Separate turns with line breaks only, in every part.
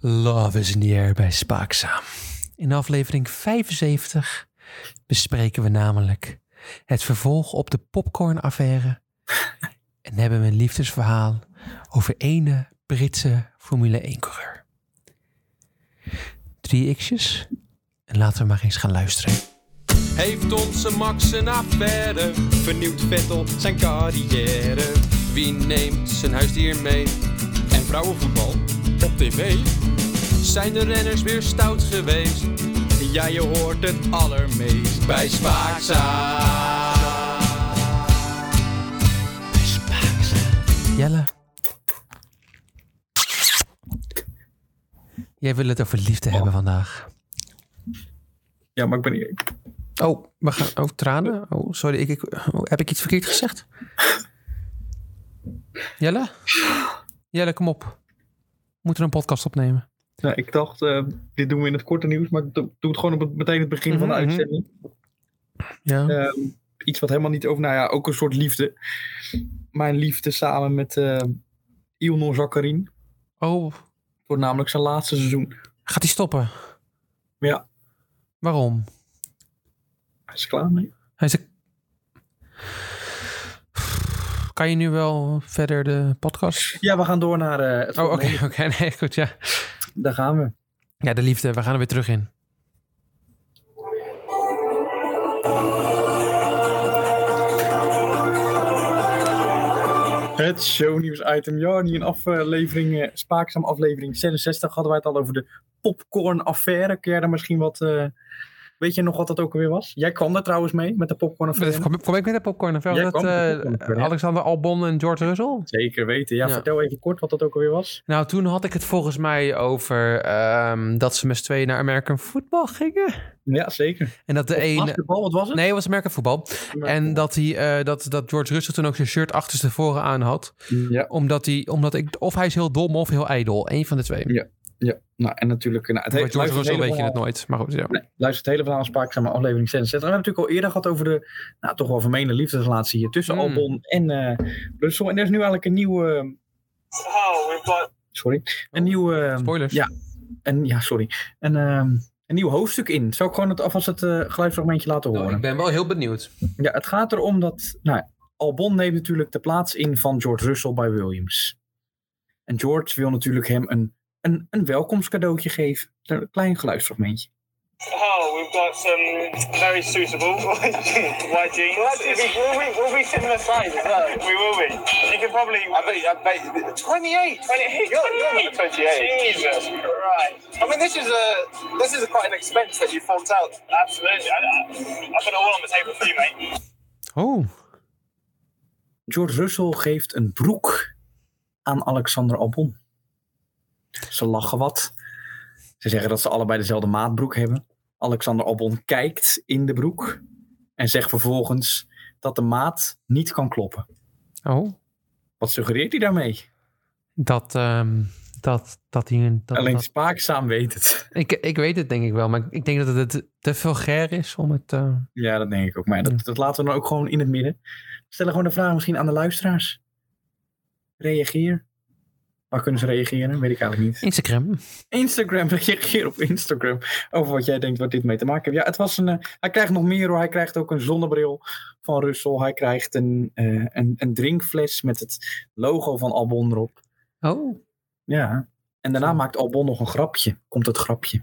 Love is in the air bij Spaakzaam. In aflevering 75 bespreken we namelijk het vervolg op de popcornaffaire. En hebben we een liefdesverhaal over ene Britse Formule 1-coureur. Drie x'jes en laten we maar eens gaan luisteren.
Heeft onze Max een affaire? Vernieuwt Vettel zijn carrière? Wie neemt zijn huisdier mee? En vrouwenvoetbal op tv? Zijn de renners weer stout geweest? Ja, je hoort het allermeest bij Spaakzaam.
Jelle. Jij wil het over liefde hebben vandaag.
Ja, maar ik ben hier. ik-
Oh, we gaan. Oh, tranen. Oh, sorry. Ik, ik- oh, heb ik iets verkeerd gezegd? Jelle? Jelle, kom op. We moeten een podcast opnemen.
Nou, ik dacht, eh, dit doen we in het korte nieuws, maar ik do- doe het gewoon op het, meteen het begin van de
Mhm, mhm.
uitzending.
Ja.
Ehm, iets wat helemaal niet over, nou ja, ook een soort liefde. Mijn liefde samen met eh Ilnor Zakarin.
Oh,
Voor namelijk zijn laatste seizoen.
gaat hij stoppen?
Ja.
Waarom?
Hij is er klaar mee.
Hij is een- Kan je nu wel verder de podcast?
Ja, we gaan door naar eh, het
Oh, oké.
volgende.
oké. Nee, goed, ja.
Daar gaan we.
Ja, de liefde. We gaan er weer terug in.
Het shownieuws item. Ja, in aflevering, eh, spaakzaam aflevering 66 hadden wij het al over de popcorn affaire. Kun jij daar misschien wat... eh, weet je nog wat dat ook alweer was? Jij kwam daar trouwens mee met de popcorn affaire.
Kom, kom ik met de popcorn? Of was
Jij
dat,
kwam met de
eh,
popcorn, ja.
Alexander Albon en George Russell?
Zeker weten. Ja,
Ja.
vertel even kort wat dat ook alweer was.
Nou, toen had ik het volgens mij over ehm, dat ze met z'n tweeën naar American Football gingen.
Ja, zeker.
En dat de een...
Basketbal, wat was het?
Nee, het was American Football. En dat, hij, eh, dat, dat George Russell toen ook zijn shirt achterstevoren aan had.
Ja,
Omdat hij... Omdat ik, of hij is heel dom of heel ijdel. Eén van de twee.
Ja, ja. Nou, en natuurlijk... Nou, het
Bij
heeft
George Russell weet je het
nog.
nooit. Maar goed, ja.
Nee, luister het hele verhaal spaakzaam aan aflevering 66. We hebben natuurlijk al eerder gehad over de nou, toch wel vermeende liefdesrelatie hier tussen
Mm.
Albon en eh Russell. En er is nu eigenlijk een nieuwe... Sorry. Een
Oh,
nieuw... eh,
Spoilers.
Ja, en, ja sorry. Een, ehm, een nieuw hoofdstuk in. Zou ik gewoon het, alvast het eh, geluidsfragmentje laten horen?
Nou, ik ben wel heel benieuwd.
Ja, het gaat erom dat. Nou, Albon neemt natuurlijk de plaats in van George Russell bij Williams. En George wil natuurlijk hem een, een, een welkomstcadeautje geven. Een klein geluidsfragmentje.
Oh, we've got some very suitable white jeans. We'll, actually be, we'll, be, we'll be similar size as well. We will be. You could probably. I bet, I bet, 28. 28. You're, you're not 28. Jesus Christ. I mean, this is a this is quite an expense that you forked out. Absolutely. I, I, I put it all on the table for you, mate.
Oh,
George Russell geeft een broek aan Alexander Albon. Ze lachen wat. Ze zeggen dat ze allebei dezelfde maatbroek hebben. Alexander Albon kijkt in de broek en zegt vervolgens dat de maat niet kan kloppen.
oh.
Wat suggereert hij daarmee?
Dat, ehm, dat, dat hij... een- Dat,
Alleen
dat-
spaakzaam weet het.
ik, ik weet het denk ik wel, maar ik denk dat het te vulgair is om het... eh,
Ja, dat denk ik ook. Maar ja, dat, dat laten we dan ook gewoon in het midden. We stellen gewoon de vraag misschien aan de luisteraars. Reageer. Waar kunnen ze reageren? Weet ik eigenlijk niet.
Instagram.
Instagram, reageer op Instagram. Over wat jij denkt, wat dit mee te maken heeft. Ja, het was een, eh, hij krijgt nog meer hoor. Hij krijgt ook een zonnebril van Russell. Hij krijgt een, eh, een, een drinkfles met het logo van Albon erop.
Oh.
Ja. En daarna maakt Albon nog een grapje. Komt het grapje.
I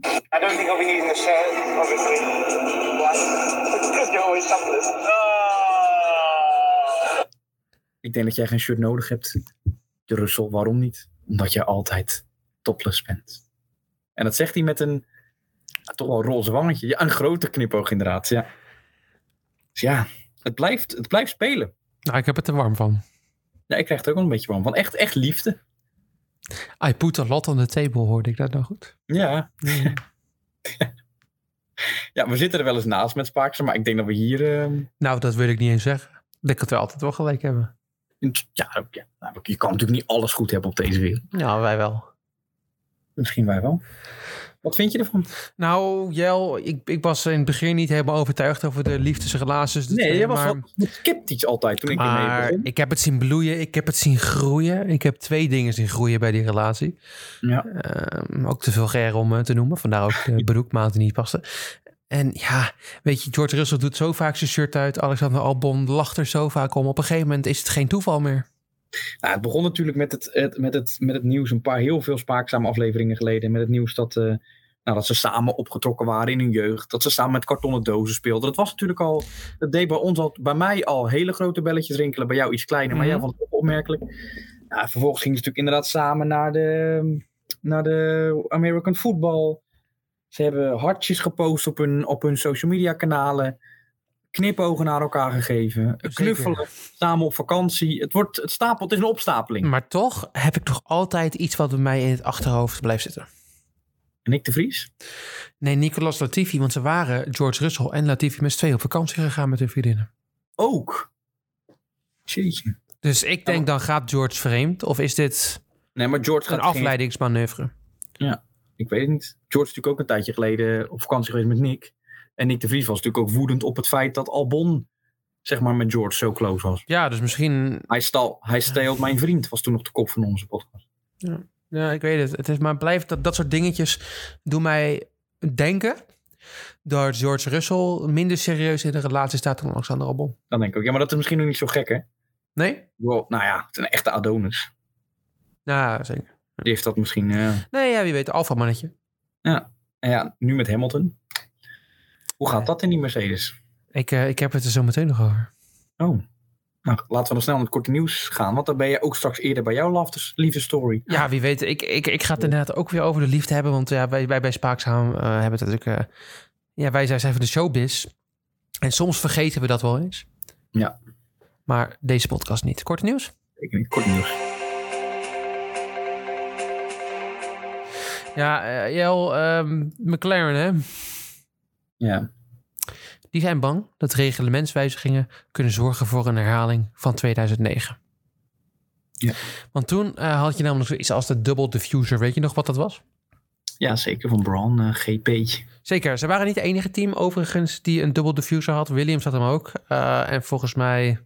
don't think I'll be using the shirt, obviously. Why? You're always topless. Oh.
Ik denk dat jij geen shirt nodig hebt. De Russell, waarom niet? Omdat jij altijd topless bent. En dat zegt hij met een ja, toch wel roze wangetje. Ja, een grote knipoog inderdaad. Ja, dus ja het, blijft, het blijft spelen.
Nou, ik heb het er warm van.
Ja, ik krijg er ook wel een beetje warm van. Echt, echt liefde.
I put a lot on the table, hoorde ik dat nou goed?
Ja. ja, we zitten er wel eens naast met Spaakse, maar ik denk dat we hier... ehm,
Nou, dat wil ik niet eens zeggen. Ik had wel altijd wel gelijk hebben.
in- ja, ook, ja, nou, je kan natuurlijk niet alles goed hebben op deze wereld.
Ja, wij wel.
Misschien wij wel. Wat vind je ervan?
Nou, Jel, ik, ik was in het begin niet helemaal overtuigd over de liefdesrelaties. tussen de
Nee,
twee,
jij was
maar,
wel sceptisch altijd toen ik ermee
maar
begon.
ik heb het zien bloeien, ik heb het zien groeien. Ik heb twee dingen zien groeien bij die relatie.
Ja.
Ehm, ook te vulgair om eh, te noemen. Vandaar ook de broekmaat die niet paste. En ja, weet je, George Russell doet zo vaak zijn shirt uit. Alexander Albon lacht er zo vaak om. Op een gegeven moment is het geen toeval meer.
Nou, het begon natuurlijk met het, het- met, het, met het nieuws een paar heel veel spaakzame afleveringen geleden. Met het nieuws dat, eh, nou, dat ze samen opgetrokken waren in hun jeugd. Dat ze samen met kartonnen dozen speelden. Dat was natuurlijk al. Dat deed bij ons al, bij mij al hele grote belletjes rinkelen. Bij jou iets kleiner, maar jij
Mhm.
vond het ook opmerkelijk. Nou, vervolgens gingen ze natuurlijk inderdaad samen naar de, naar de American Football. Ze hebben hartjes gepost op hun, op hun social media kanalen. Knipogen naar elkaar gegeven. Knuffelen. Samen op vakantie. Het, wordt, het stapelt, het is een opstapeling.
Maar toch heb ik toch altijd iets wat bij mij in het achterhoofd blijft zitten.
En ik de Vries?
Nee, Nicolas Latifi, want ze waren, George Russell en Latifi, met z'n tweeën op vakantie gegaan met hun vriendinnen.
Ook. Jeetje.
Dus ik denk, dan gaat George vreemd. Of is dit
Nee, maar George
een
gaat geen-
afleidingsmanoeuvre?
ik weet het niet. George is natuurlijk ook een tijdje geleden op vakantie geweest met Nick. En Nick de Vries was natuurlijk ook woedend op het feit dat Albon zeg maar, met George zo close was.
Ja, dus misschien...
Hij, stal, hij steelt mijn vriend, was toen nog de kop van onze podcast.
Ja, ik weet het. Het is maar blijft dat, dat soort dingetjes doen mij denken dat George Russell minder serieus in de relatie staat dan Alexander Albon.
Dan denk ik ook, ja, maar dat is misschien nog niet zo gek, hè?
Nee?
Wel, nou ja, het is een echte Adonis.
Nou, zeker.
Die heeft dat misschien... eh,
Nee, ja, wie weet, alfa mannetje.
en ja, nu met Hamilton. Hoe gaat dat in die Mercedes?
Ik, eh, ik heb het er zo meteen nog over.
Oh. Nou, laten we dan snel naar het korte nieuws gaan. Want dan ben je ook straks eerder bij jouw liefde, liefde story.
Ja, wie weet. Ik, ik, ik ga het inderdaad ook weer over de liefde hebben. Want ja, wij, wij bij Spaakzaam eh, hebben het natuurlijk... eh, ja, wij zijn zijn van de showbiz. En soms vergeten we dat wel eens.
Ja.
Maar deze podcast niet. Kort nieuws.
Ik weet niet, kort nieuws.
Ja, eh, Jel, ehm, McLaren hè.
Ja.
Die zijn bang dat reglementswijzigingen kunnen zorgen voor een herhaling van 2009.
Ja.
Want toen eh, had je namelijk zoiets als de double diffuser. Weet je nog wat dat was?
ja, zeker van Braun, eh, GP.
Zeker, ze waren niet het enige team overigens die een double diffuser had. Williams had hem ook. Eh, en volgens mij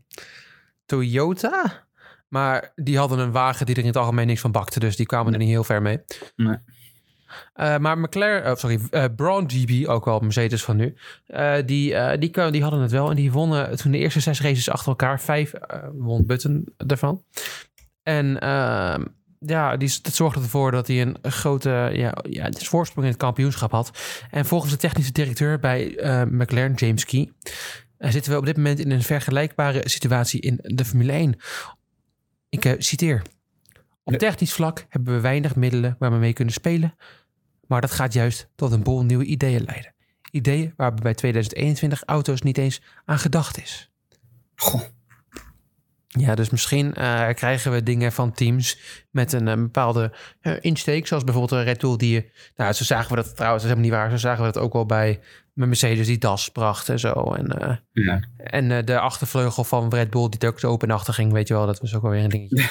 Toyota. Maar die hadden een wagen die er in het algemeen niks van bakte. Dus die kwamen er niet heel ver mee.
Nee.
Eh, maar McLaren, oh, sorry, eh Braun GB, ook wel Mercedes van nu. eh, die, eh, die, kwamen- die hadden het wel. En die wonnen toen de eerste zes races achter elkaar. Vijf eh, won Button daarvan. En ehm, ja, die, dat zorgde ervoor dat hij een grote ja, ja, het is voorsprong in het kampioenschap had. En volgens de technische directeur bij eh, McLaren, James Key, eh, zitten we op dit moment in een vergelijkbare situatie in de Formule 1. Ik eh, citeer. Op
Ja.
technisch vlak hebben we weinig middelen waar we mee kunnen spelen. Maar dat gaat juist tot een bol nieuwe ideeën leiden. Ideeën waar bij 2021 auto's niet eens aan gedacht is.
Goh.
Ja, dus misschien eh, krijgen we dingen van teams met een, eh, bepaalde eh, insteek. Zoals bijvoorbeeld een Red Bull die... je- Nou, zo zagen we dat trouwens, dat is helemaal niet waar. Zo zagen we dat ook wel bij met Mercedes die das bracht en zo. En, eh,
Ja.
en eh, de achtervleugel van Red Bull die ook zo open en achter ging. Weet je wel, dat was ook wel weer een dingetje.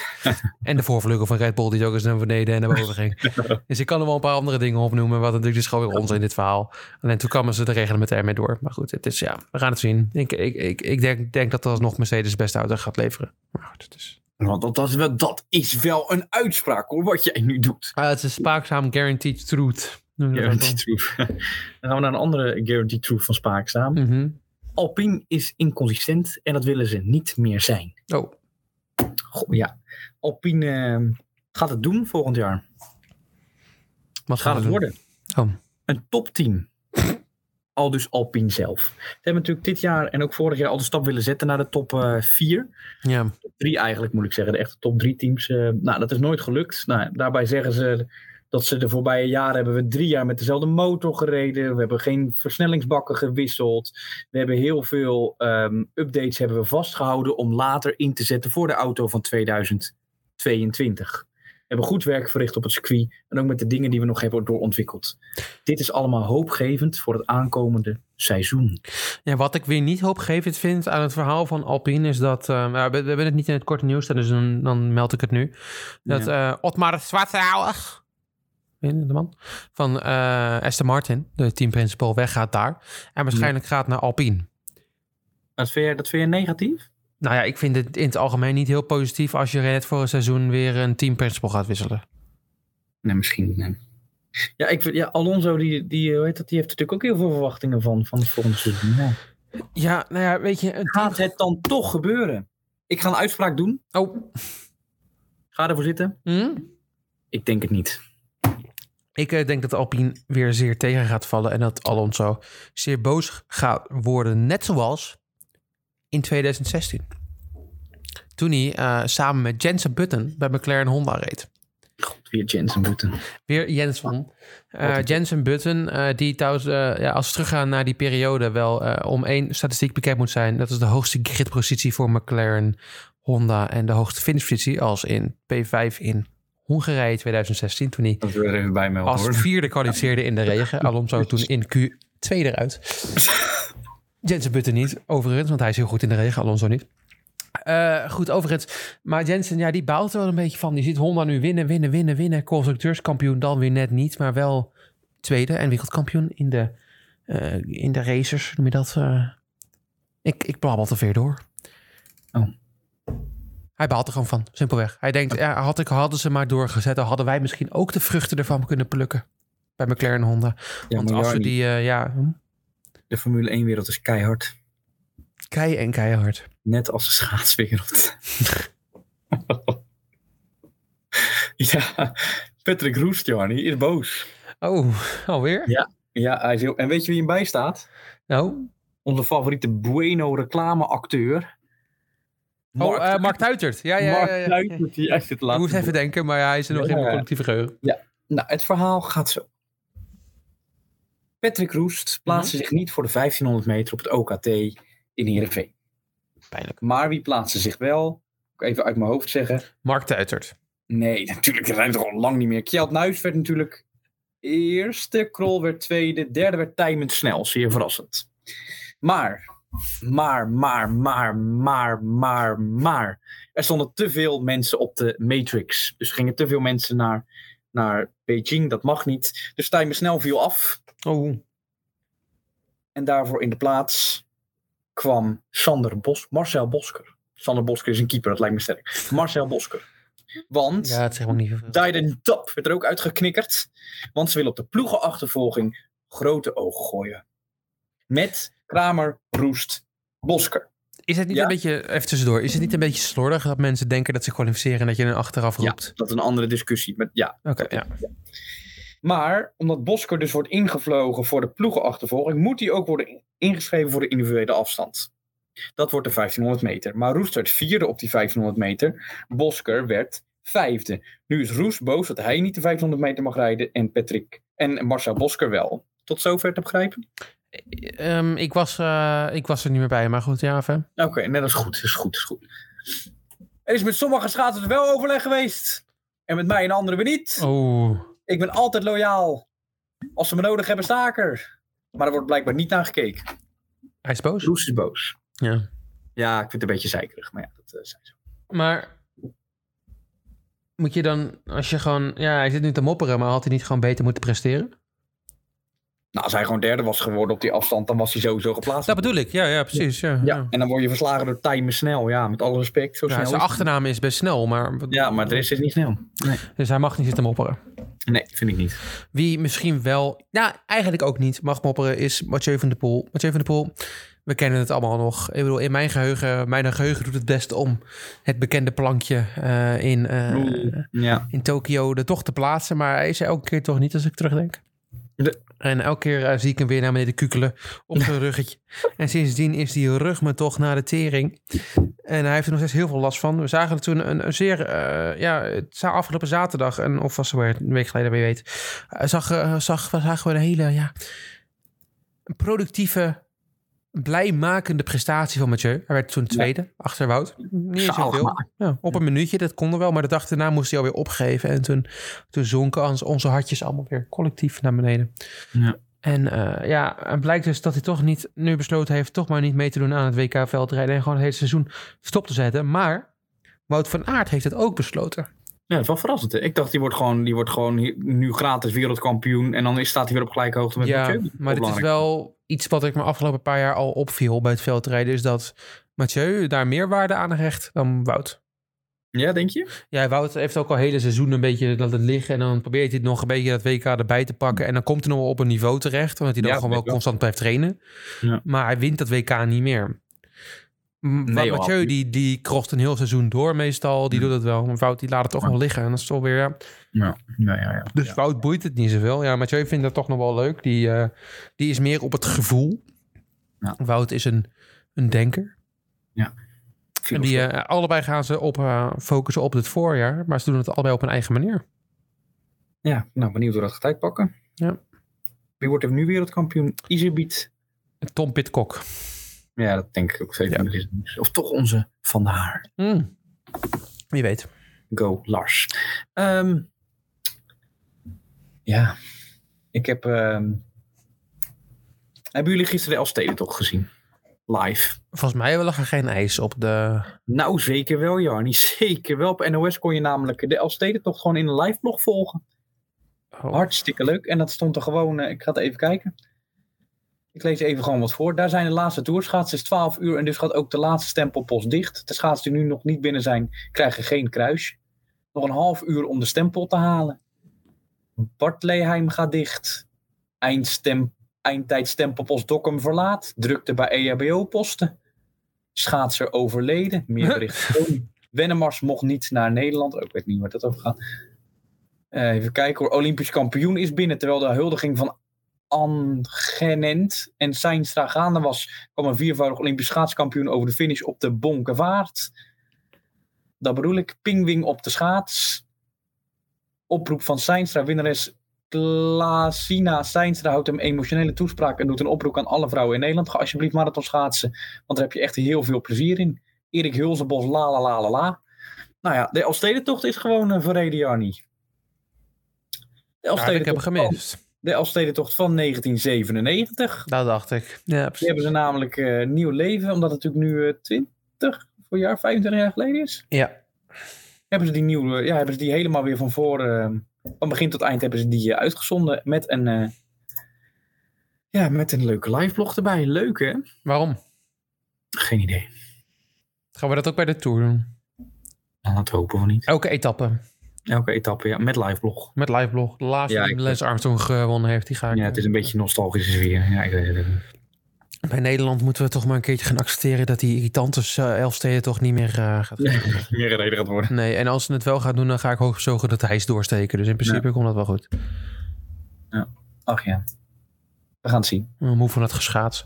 en de voorvleugel van Red Bull die ook eens naar beneden en naar boven ging. dus ik kan er wel een paar andere dingen opnoemen. Wat natuurlijk dus gewoon weer ons in dit verhaal. Alleen toen kwamen ze de reglementair mee door. Maar goed, het is, ja, we gaan het zien. Ik, ik, ik, ik denk, denk dat dat nog Mercedes beste auto gaat leveren. Maar goed, het is...
Want dat, dat, is wel, dat is wel een uitspraak hoor, wat jij nu doet.
Ah, het is een spaakzaam guaranteed truth. Noem je dat ook wel?
Guaranteed truth. Dan gaan we naar een andere guaranteed truth van Spaak staan.
Mhm.
Alpine is inconsistent en dat willen ze niet meer zijn.
Oh,
Goh, ja. Alpine eh, gaat het doen volgend jaar.
wat
Gaat het
doen?
worden?
Oh.
Een topteam. Al dus Alpine zelf. Ze hebben natuurlijk dit jaar en ook vorig jaar al de stap willen zetten naar de top eh, 4.
Ja.
drie eigenlijk, moet ik zeggen. De echte top drie teams. eh, nou, dat is nooit gelukt. Nou, daarbij zeggen ze dat ze de voorbije jaren hebben we drie jaar met dezelfde motor gereden. We hebben geen versnellingsbakken gewisseld. We hebben heel veel ehm, updates hebben we vastgehouden om later in te zetten voor de auto van 2022. We hebben goed werk verricht op het circuit en ook met de dingen die we nog hebben doorontwikkeld. Dit is allemaal hoopgevend voor het aankomende seizoen.
Ja, wat ik weer niet hoopgevend vind aan het verhaal van Alpine is dat. eh, nou, we, we hebben het niet in het korte nieuws, dus dan, dan meld ik het nu. Dat eh Otmar Zwartauer in de man, van eh Aston Martin, de teamprincipal, weggaat daar. En waarschijnlijk gaat naar Alpine.
Dat vind je, dat vind je negatief?
Nou ja, ik vind het in het algemeen niet heel positief als je net voor een seizoen weer een teamprincipal gaat wisselen.
Nee, misschien. Nee. Ja, ik vind, ja, Alonso, die, die, eh, hoe heet dat, die heeft natuurlijk ook heel veel verwachtingen van, van het volgende seizoen. Ja.
Ja, nou ja, weet je. een team-
Gaat het dan toch gebeuren? Ik ga een uitspraak doen.
Oh,
Ga ervoor zitten.
hm?
Ik denk het niet.
Ik eh, denk dat Alpine weer zeer tegen gaat vallen en dat Alonso zeer boos gaat worden, net zoals in 2016. Toen hij eh, samen met Jensen Button bij McLaren Honda reed.
God, weer Jensen Button.
Weer Jensen. Eh Jensen Button, eh, die trouwens, eh, ja, als we teruggaan naar die periode, wel eh, om één statistiek bekend moet zijn. Dat is de hoogste gridpositie voor McLaren Honda en de hoogste finishpositie als in P5 in Hongarije 2016. Toen hij
Dat wil er even bij me
als vierde kwalificeerde in de regen. Alonso toen in Q2 eruit. Jensen Button niet, overigens, want hij is heel goed in de regen. Alonso niet. Eh, goed, overigens. Maar Jensen, ja, die baalt er wel een beetje van. Die ziet Honda nu winnen, winnen, winnen, winnen. Constructeurskampioen dan weer net niet, maar wel tweede en wereldkampioen in de, eh, in de racers. Hoe Noem je dat? eh? ik, ik blabbel te ver door.
Oh.
Hij baalt er gewoon van, simpelweg. Hij denkt, ja, had ik, hadden ze maar doorgezet, dan hadden wij misschien ook de vruchten ervan kunnen plukken. Bij McLaren Honda.
Ja,
Want
maar
als we
Jarny,
die, eh, ja, hm,
De Formule 1-wereld is keihard.
kei en keihard.
Net als de schaatswereld. ja, Patrick Roest, Jarny, is boos.
Oh, alweer?
Ja. Ja, hij is heel... En weet je wie hem bijstaat?
Nou,
Onze favoriete Bueno reclameacteur.
oh, eh, Mark Tuitert. Ja, ja, ja.
Mark
ja, ja.
Kuipers, die echt het
Ik
laatste
moest even denken, maar ja, hij is er nog
Ja,
in mijn
ja.
collectieve geheugen.
Nou, het verhaal gaat zo. Patrick Roest
Mhm.
plaatste zich niet voor de 1500 meter op het OKT in Heerenveen.
Pijnlijk.
Maar wie plaatste zich wel? Ook Even uit mijn hoofd zeggen.
Mark Tuitert.
Nee, natuurlijk, dat rijmt toch al lang niet meer. Kjeld Nuis werd natuurlijk eerste, Krol werd tweede, derde werd Tijmend Snel. Zeer verrassend. Maar, maar, maar, maar, maar, maar, maar. Er stonden te veel mensen op de Matrix. Dus gingen te veel mensen naar, naar Beijing, dat mag niet. Dus Tijmend Snel viel af.
Oh,
En daarvoor in de plaats kwam Sander Bos, Marcel Bosker. Sander Bosker is een keeper, dat lijkt me sterk. Marcel Bosker. Want...
ja, het zegt me ook niet veel.
Dyden Top werd er ook uitgeknikkerd. Want ze willen op de ploegenachtervolging grote ogen gooien. Met Kramer, Roest, Bosker.
Is het niet
Ja?
een beetje, even tussendoor, is het niet een beetje slordig dat mensen denken dat ze kwalificeren en dat je een achteraf roept?
dat is een andere discussie. Maar, ja.
Oké, ja.
maar omdat Bosker dus wordt ingevlogen voor de ploegenachtervolging, moet hij ook worden in- ingeschreven voor de individuele afstand. Dat wordt de 1500 meter. Maar Roest werd vierde op die 1500 meter. Bosker werd vijfde. Nu is Roest boos dat hij niet de 1500 meter mag rijden en Patrick en Marcel Bosker wel. Tot zover te begrijpen?
Ehm, ik, was, eh, ik was er niet meer bij, maar goed, ja, even.
Oké, nee, dat is goed. Dat is goed, dat is goed. Er is met sommige schaatsers wel overleg geweest. En met mij en anderen weer niet.
Oh,
Ik ben altijd loyaal. Als ze me nodig hebben, sta ik er. Maar er wordt blijkbaar niet naar gekeken.
hij is boos.
Roes is boos.
Ja.
Ja, ik vind het een beetje zeikerig. Maar ja, dat eh, zijn ze.
Maar moet je dan, als je gewoon, ja, hij zit nu te mopperen, maar had hij niet gewoon beter moeten presteren?
Nou, als hij gewoon derde was geworden op die afstand, dan was hij sowieso geplaatst.
Dat bedoel ik, ja, ja, precies. Ja, ja.
ja, en dan word je verslagen door Time Snel. Ja, met alle respect. Zo
Ja,
snel
zijn
is-
achternaam is best snel, maar,
Ja, maar de rest is niet snel.
dus hij mag niet zitten mopperen.
Nee, vind ik niet.
Wie misschien wel, nou eigenlijk ook niet, mag mopperen is Mathieu van der Poel. Mathieu van der Poel, we kennen het allemaal nog. Ik bedoel, in mijn geheugen, mijn geheugen doet het best om het bekende plankje eh, in, eh,
Ja.
in Tokio er toch te plaatsen. Maar hij is er elke keer toch niet als ik terugdenk.
De-
En elke keer eh, zie ik hem weer naar beneden kukelen op zijn ruggetje. En sindsdien is die rug me toch naar de tering. En hij heeft er nog steeds heel veel last van. We zagen er toen een, een zeer... eh, ja, het za- afgelopen zaterdag, en, of was het weer een week geleden, wie weet... eh, zag, eh, zag, zagen we een hele ja, een productieve, blijmakende prestatie van Mathieu. Hij werd toen tweede, achter Wout. Niet eens
Zalig
zoveel. Ja, op een minuutje, dat kon er wel. Maar de dag daarna moest hij alweer opgeven. En toen, toen zonken ons- onze hartjes allemaal weer collectief naar beneden.
Ja.
En eh, ja, het blijkt dus dat hij toch niet nu besloten heeft... toch maar niet mee te doen aan het WK-veldrijden... en gewoon het hele seizoen stop te zetten. Maar Wout van Aert heeft het ook besloten.
Ja, dat is wel verrassend. Hè? Ik dacht, die wordt gewoon, die wordt gewoon hier- nu gratis wereldkampioen. En dan is- staat hij weer op gelijke hoogte met
ja,
Mathieu.
maar dit is
Belangrijk.
wel iets wat ik me afgelopen paar jaar al opviel bij het veldrijden. Is dat Mathieu daar meer waarde aan hecht dan Wout.
Ja, denk je?
Ja, Wout heeft ook al hele seizoen een beetje laten liggen. En dan probeert hij het nog een beetje dat WK erbij te pakken. En dan komt hij nog wel op een niveau terecht. Omdat hij dan
Ja,
gewoon
dat
wel
weet ik wel.
constant blijft trainen.
Ja.
Maar hij wint dat WK niet meer. M-
Nee,
maar
joh,
Mathieu,
absoluut.
die, die krocht een heel seizoen door meestal. Die
Hm.
doet het wel. Maar Wout, die laat het toch
Ja.
nog liggen. En dat is toch weer... Ja,
Ja, ja, ja. ja.
Dus Wout boeit het niet zoveel. Ja, Mathieu vindt dat toch nog wel leuk. Die, eh, die is meer op het gevoel.
Ja.
Wout is een, een denker. En die, eh, allebei gaan ze op, eh, focussen op het voorjaar. Maar ze doen het allebei op hun eigen manier.
Ja, nou, benieuwd hoe dat gaat uitpakken.
Ja.
Wie wordt er nu wereldkampioen? Izerbiet.
Tom Pitcock.
Ja, dat denk ik ook zeker. Of toch onze Van der Haar.
Mm. Wie weet.
Go, Lars. Ehm, ja, ik heb... ehm, hebben jullie gisteren de Elfsteden toch gezien? Live.
Volgens mij lag er geen ijs op de...
Nou, zeker wel, Jarnie. Zeker wel. Op NOS kon je namelijk de Elfstedentocht gewoon in een live blog volgen.
Oh.
Hartstikke leuk. En dat stond er gewoon... eh, ik ga het even kijken. Ik lees even gewoon wat voor. Daar zijn de laatste toerschaatsen. Het is 12 uur en dus gaat ook de laatste stempelpost dicht. De schaatsen die nu nog niet binnen zijn, krijgen geen kruis. Nog een half uur om de stempel te halen. Bart Leheim gaat dicht. Eindstem, eindtijdstempelpost Dokkum verlaat. Drukte bij E EHBO-posten. Schaatser overleden. Meer berichten. Wennemars mocht niet naar Nederland. Ook weet niet waar dat over gaat. Eh, even kijken hoor. Olympisch kampioen is binnen. Terwijl de huldiging van Angenent en Seinstra gaande was, kwam een viervoudig Olympisch schaatskampioen over de finish op de Bonkenvaart. Dat bedoel ik. Pingwing op de schaats. Oproep van Seinstra, winnares Klaasina Seinstra houdt hem emotionele toespraak en doet een oproep aan alle vrouwen in Nederland. Ga alsjeblieft marathon schaatsen, want daar heb je echt heel veel plezier in. Erik Hulzenbos, la la la la la. Nou ja, de Elfstedentocht is gewoon eh, een verreden jaar niet. De
Ja, ik Nou, heb
Elfstedentocht van-
gemist.
de Elfstedentocht van 1997.
Dat dacht ik. Ja,
Die
precies.
hebben ze namelijk eh, nieuw leven, omdat het natuurlijk nu eh, 20 voor jaar, 25 jaar geleden is.
Ja.
Hebben ze die nieuw, eh, ja, hebben ze die helemaal weer van voor, eh, van begin tot eind hebben ze die eh, uitgezonden met een, eh, ja, met een leuke liveblog erbij. Leuk hè?
Waarom?
Geen idee.
Gaan we dat ook bij de Tour doen?
Laat het Nou, hopen van niet.
Elke etappe.
Elke etappe, ja, met liveblog.
Met liveblog. De laatste
Ja,
die
ik-
Lance Armstrong gewonnen heeft. Die ga ik
Ja, het is een beetje nostalgische sfeer. Ja, ik weet het. niet.
Bij Nederland moeten we toch maar een keertje gaan accepteren dat die irritante eh, Elfsteden toch niet meer eh, gaat.
Meer reden gaat worden.
Nee, en als ze het wel gaat doen, dan ga ik hooggezogen dat hijs doorsteken. Dus in principe komt dat wel goed.
Ach ja. We gaan het zien.
Ik ben Moe van het geschaats.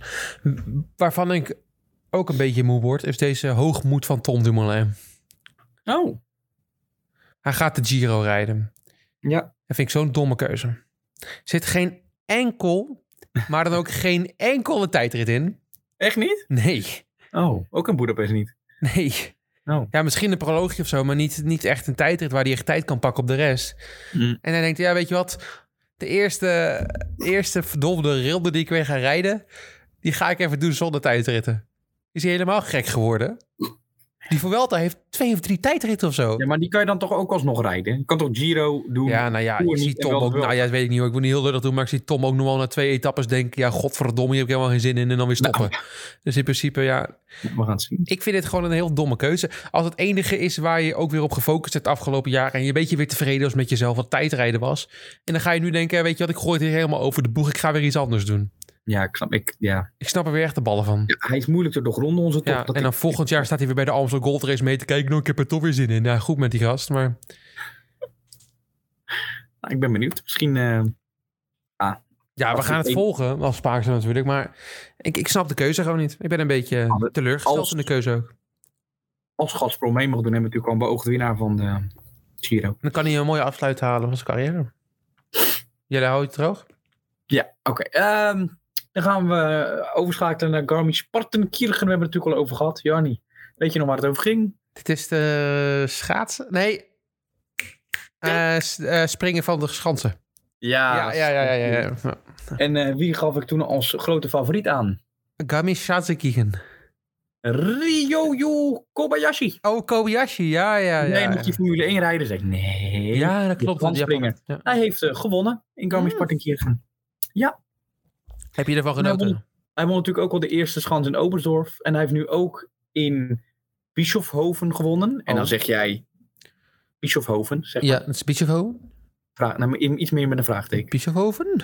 Waarvan ik ook een beetje moe word, is deze hoogmoed van Tom Dumoulin.
Oh.
Hij gaat de Giro rijden.
Ja.
Dat vind ik zo'n domme keuze. Er zit geen enkel, maar dan ook geen enkele tijdrit in.
Echt niet?
Nee,
Oh, ook in Boedapest niet.
nee.
Oh.
Ja, misschien een proloogje of zo, maar niet, niet echt een tijdrit waar hij echt tijd kan pakken op de rest.
Mm.
En hij denkt, ja, weet je wat? De eerste, eerste verdomde rilde die ik weer ga rijden, die ga ik even doen zonder tijdritten. Is hij helemaal gek geworden? Die Vuelta heeft twee of drie tijdritten of zo.
Ja, maar die kan je dan toch ook alsnog rijden? Je kan toch Giro doen?
Ja, nou ja,
Tour
ik zie
niet en
Tom
wel de
ook... Nou
Vuelta.
ja, dat weet ik niet hoor. Ik wil niet heel lullig doen, maar ik zie Tom ook nog wel na twee etappes denken... Ja, godverdomme, hier heb ik helemaal geen zin in en dan weer stoppen. Dus in principe, ja,
Nou, We gaan het zien.
Ik vind het gewoon een heel domme keuze. Als het enige is waar je ook weer op gefocust hebt afgelopen jaar. En je een beetje weer tevreden was met jezelf wat tijdrijden was. En dan ga je nu denken, weet je wat, ik gooi het hier helemaal over de boeg. Ik ga weer iets anders doen.
Ja, ik snap. Ik, ja.
Ik snap er weer echt de ballen van.
Ja, hij is moeilijk te doorgronden, onze top.
Ja,
Dat
en dan
ik-
volgend jaar staat hij weer bij de Amstel Gold Race mee te kijken. Nou, ik heb er toch weer zin in. Nou, goed met die gast, maar...
Nou, ik ben benieuwd. Misschien. eh,
Ja, we gaan het volgen als Spaakzaam natuurlijk. Maar ik, ik snap de keuze gewoon niet. Ik ben een
Ah,
beetje teleurgesteld
Als-
in de keuze ook.
als Gasprom mee mag doen, hebben we natuurlijk al een beoogd winnaar van de Giro.
Dan kan hij een mooie afsluit halen van zijn carrière. Jullie houden het droog?
Ja, oké. Ehm, dan gaan we overschakelen naar Garmin Spartenkirchen. We hebben het natuurlijk al over gehad. Jarni, weet je nog waar het over ging?
Dit is de schaatsen? Nee. Eh, s- eh, springen van de schansen. ja, ja, ja, ja. ja, ja.
En eh, wie gaf ik toen als grote favoriet aan?
Gami Shazekigen.
Ryoyu Kobayashi.
Oh, Kobayashi, ja, ja, ja.
Nee, moet je Formule 1 rijden? Zeg ik, nee.
ja, dat klopt. want Ah.
Japan.
Japan- ja.
Hij heeft eh, gewonnen in Garmin Sporting Kiev.
Heb je ervan
Nou,
genoten?
won- Hij won natuurlijk ook al de eerste schans in Oberstdorf. En hij heeft nu ook in Bischofhoven gewonnen. En
Oh.
dan zeg jij Bischofhoven. Zeg
ja, het is Bischofhoven.
vraag, nou, in- iets meer met een vraagteken.
Bischofhoven?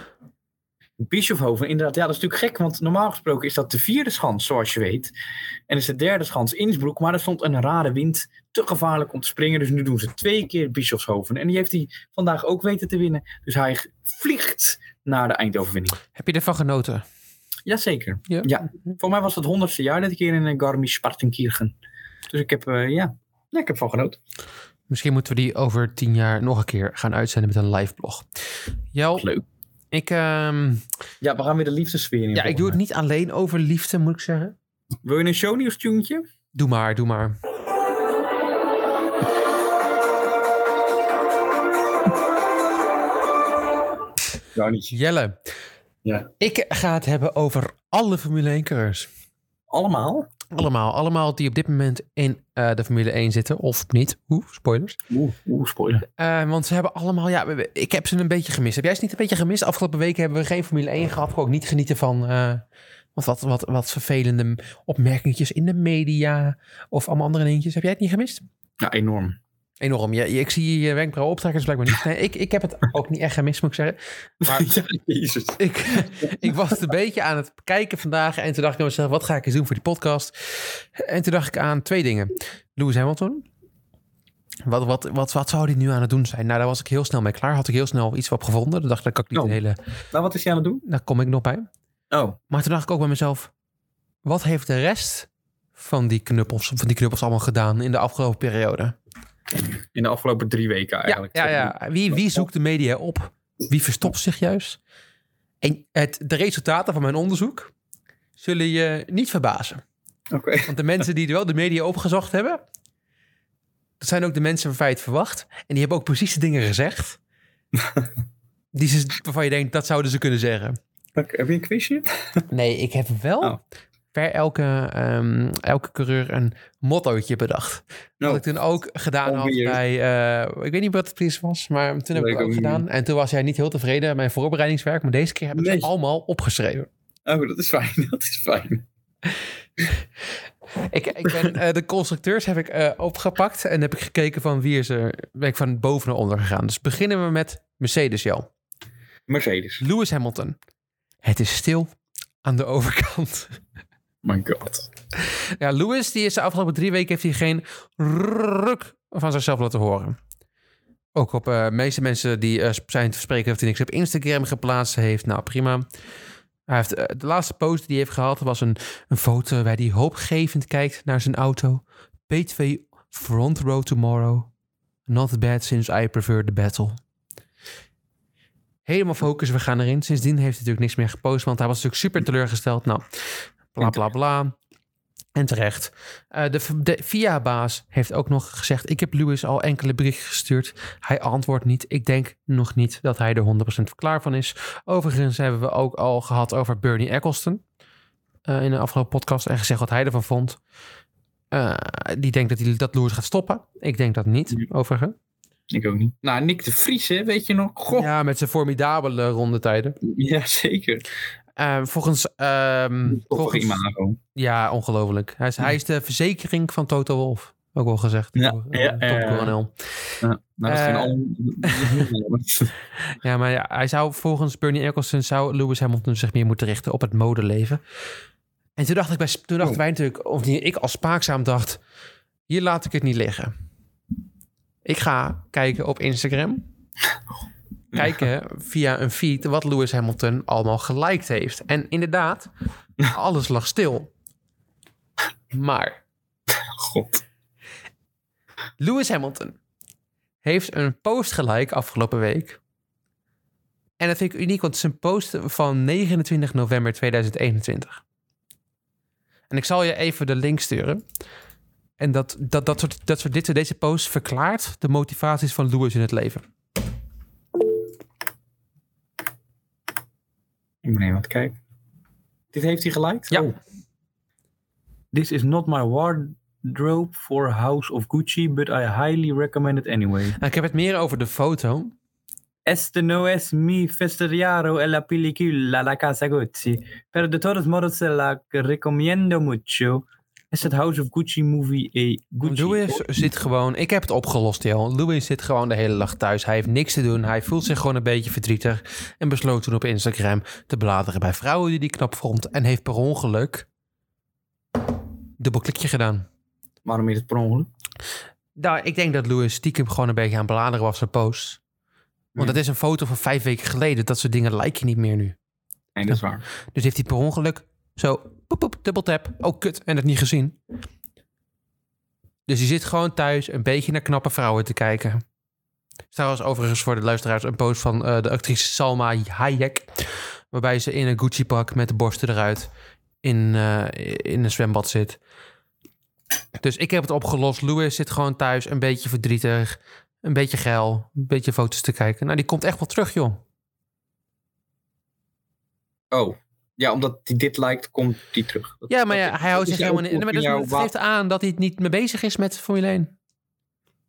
Bischofhoven, inderdaad. Ja, dat is natuurlijk gek. Want normaal gesproken is dat de vierde schans, zoals je weet. En is de derde schans Innsbruck. Maar er stond een rare wind. Te gevaarlijk om te springen. Dus nu doen ze twee keer Bischofshoven. En die heeft hij vandaag ook weten te winnen. Dus hij g- vliegt naar de eindoverwinning.
Heb je ervan genoten?
Jazeker.
Ja.
Voor mij was het honderdste jaar dat ik hier in eh, Garmisch-Partenkirchen. Dus ik heb, eh, ja. ja, ik heb van genoten.
Misschien moeten we die over tien jaar nog een keer gaan uitzenden met een live blog. Jel,
Leuk.
ik, ehm,
Ja, we gaan weer de liefdessfeer in.
ja, ik doe het niet alleen over liefde, moet ik zeggen.
Wil je een shownieuws-tuentje?
Doe maar, doe maar.
Ja, niet.
Jelle,
Ja.
ik ga het hebben over alle Formule 1 coureurs.
Allemaal?
Allemaal, allemaal die op dit moment in eh, de Formule 1 zitten, of niet. Oeh, spoilers.
Oeh, oeh, spoiler.
Eh, want ze hebben allemaal, ja, we- we- ik heb ze een beetje gemist. Heb jij ze niet een beetje gemist? Afgelopen weken hebben we geen Formule 1 gehad. Kon ook niet genieten van eh, want wat, wat, wat vervelende opmerkingjes in de media of allemaal andere dingetjes. Heb jij het niet gemist?
Ja, enorm.
Enorm. Je, je- ik zie je wenkbrauw optrekken, dus blijkbaar niet. Nee, ik, ik heb het ook niet echt gemist, moet ik zeggen. Maar
Ja, jezus.
ik, ik was het een beetje aan het kijken vandaag. En toen dacht ik aan mezelf, wat ga ik eens doen voor die podcast? En toen dacht ik aan twee dingen. Lewis Hamilton. Wat, wat, wat, wat zou die nu aan het doen zijn? Nou, daar was ik heel snel mee klaar. Had ik heel snel iets op gevonden. Daar dacht ik, daar kan ik niet
Oh.
een hele...
Nou, wat is jij aan het doen?
Daar kom ik nog bij.
Oh,
Maar toen dacht ik ook bij mezelf... Wat heeft de rest van die knuppels, van die knuppels allemaal gedaan in de afgelopen periode?
in de afgelopen drie weken
Ja,
eigenlijk.
ja, ja. Wie, wie zoekt de media op? Wie verstopt zich juist? En het, de resultaten van mijn onderzoek zullen je niet verbazen.
Oké.
Want de mensen die wel de media opgezocht hebben, dat zijn ook de mensen waarvan je het verwacht. En die hebben ook precies de dingen gezegd. Die ze, waarvan je denkt, dat zouden ze kunnen zeggen.
Oké, Heb je een quizje?
Nee, ik heb wel
Oh.
per elke, ehm, elke coureur een mottootje bedacht. Wat
Nou,
ik toen ook gedaan
Oh,
had
weer.
bij... eh, ik weet niet wat het precies was, maar toen heb ik
Leuk
het ook
ook
gedaan. En toen was jij niet heel tevreden met mijn voorbereidingswerk. Maar deze keer heb ik
Nee.
ze allemaal opgeschreven.
Oh, dat is fijn. Dat is fijn.
Ik, ik ben, eh, de constructeurs heb ik eh, opgepakt. En heb ik gekeken van wie is er... Ben ik van boven naar onder gegaan. Dus beginnen we met Mercedes, Jel.
Mercedes.
Lewis Hamilton. Het is stil aan de overkant.
My god.
Ja, Lewis, die is de afgelopen drie weken heeft hij geen ruk van zichzelf laten horen. Ook op eh, de meeste mensen die eh, sp- zijn te spreken heeft hij niks op Instagram geplaatst heeft. Nou, prima. Hij heeft, eh, de laatste post die hij heeft gehad was een, een foto waar hij hoopgevend kijkt naar zijn auto. P2 front row tomorrow. Not bad since I prefer the battle. Helemaal focus, we gaan erin. Sindsdien heeft hij natuurlijk niks meer gepost, want hij was natuurlijk super teleurgesteld. Nou, bla bla bla. En terecht. Eh, de de VIA-baas heeft ook nog gezegd... ik heb Lewis al enkele berichten gestuurd. Hij antwoordt niet. Ik denk nog niet dat hij er 100% klaar van is. Overigens hebben we ook al gehad over Bernie Eccleston... eh, in de afgelopen podcast en gezegd wat hij ervan vond. Eh, die denkt dat, hij, dat Lewis gaat stoppen. Ik denk dat niet, overigens.
Ik ook niet. Nou, Nick de Vries, hè, weet je nog? Goh.
Ja, met zijn formidabele rondetijden.
Ja, zeker.
Eh volgens... ehm,
Toch
volgens
imago.
Ja, ongelooflijk. Hij is, hij is de verzekering van Toto Wolf. Ook wel gezegd.
Ja,
door,
ja,
eh,
ja, ja.
topcoronel.
Nou, dat
Eh.
zijn al...
Ja, maar ja, hij zou volgens Bernie Eccleston zou Lewis Hamilton zich meer moeten richten op het modeleven. En toen dacht ik bij, toen dachten
Oh.
wij natuurlijk, of niet, ik als spaakzaam dacht, hier laat ik het niet liggen. Ik ga kijken op Instagram. Kijken via een feed wat Lewis Hamilton allemaal geliked heeft. En inderdaad, alles lag stil. Maar
God.
Lewis Hamilton heeft een post gelijk afgelopen week. En dat vind ik uniek, want het is een post van 29 november 2021. En ik zal je even de link sturen. En dat, dat, dat soort, dat soort dit, deze post verklaart de motivaties van Lewis in het leven. Oh.
Ik moet even wat kijken. Dit heeft hij gelijk?
Ja.
Oh. This is not my wardrobe for House of Gucci, but I highly recommend it anyway.
Nou, ik heb het meer over de foto.
Este no es mi festeriaro e la pellicula la casa Gucci. Pero de todos modos se la recomiendo mucho. Is het House of Gucci movie a Gucci?
Louis zit gewoon... Ik heb het opgelost, joh. Louis zit gewoon de hele dag thuis. Hij heeft niks te doen. Hij voelt zich gewoon een beetje verdrietig. En besloot toen op Instagram te bladeren bij vrouwen die hij knap vond. En heeft per ongeluk... dubbelklikje gedaan.
Waarom is het per ongeluk?
Nou, ik denk dat Louis stiekem gewoon een beetje aan het bladeren was zijn post. Want
Ja.
dat is een foto van vijf weken geleden. Dat soort dingen like je niet meer nu.
Nee, dat is waar.
Dus heeft hij per ongeluk zo, poep, poep, dubbeltap. Oh, kut, en het niet gezien. Dus hij zit gewoon thuis een beetje naar knappe vrouwen te kijken. Er is Trouwens, overigens voor de luisteraars een post van eh, de actrice Salma Hayek. Waarbij ze in een Gucci-pak met de borsten eruit in, eh, in een zwembad zit. Dus ik heb het opgelost. Louis zit gewoon thuis een beetje verdrietig. Een beetje geil. Een beetje foto's te kijken. Nou, die komt echt wel terug, joh.
Oh. Ja, omdat hij dit liked, komt die terug. Dat-
Ja, maar
dat
ja,
is-
hij houdt
dat
zich
is jouw
helemaal niet. Maar dat
opinion,
dat
wa-
geeft aan dat hij het niet mee bezig is met Formule 1.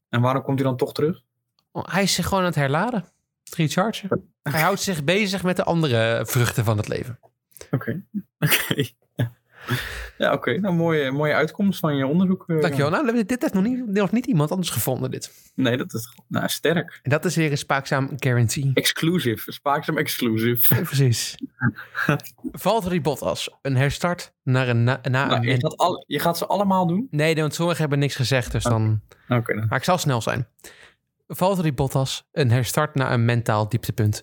En waarom komt hij dan toch terug?
Oh, Hij is zich gewoon aan het herladen. Het rechargen. Hij houdt zich bezig met de andere vruchten van het leven.
Oké. Oké. ja, oké. Nou, mooie, mooie uitkomst van je onderzoek. eh.
Dankjewel. Nou, dit heeft nog niet, nog niet iemand anders gevonden, dit.
Nee, dat is nou, sterk.
En dat is weer een spaakzaam guarantee.
Exclusive. Spaakzaam exclusive.
Precies. Valtteri Bottas. Een herstart naar een... Na, na
Nou,
een-
is dat al, je gaat ze allemaal doen?
Nee, want sommigen hebben niks gezegd, dus dan...
Oké. dan.
Maar ik zal snel zijn. Valtteri Bottas, een herstart na een mentaal dieptepunt.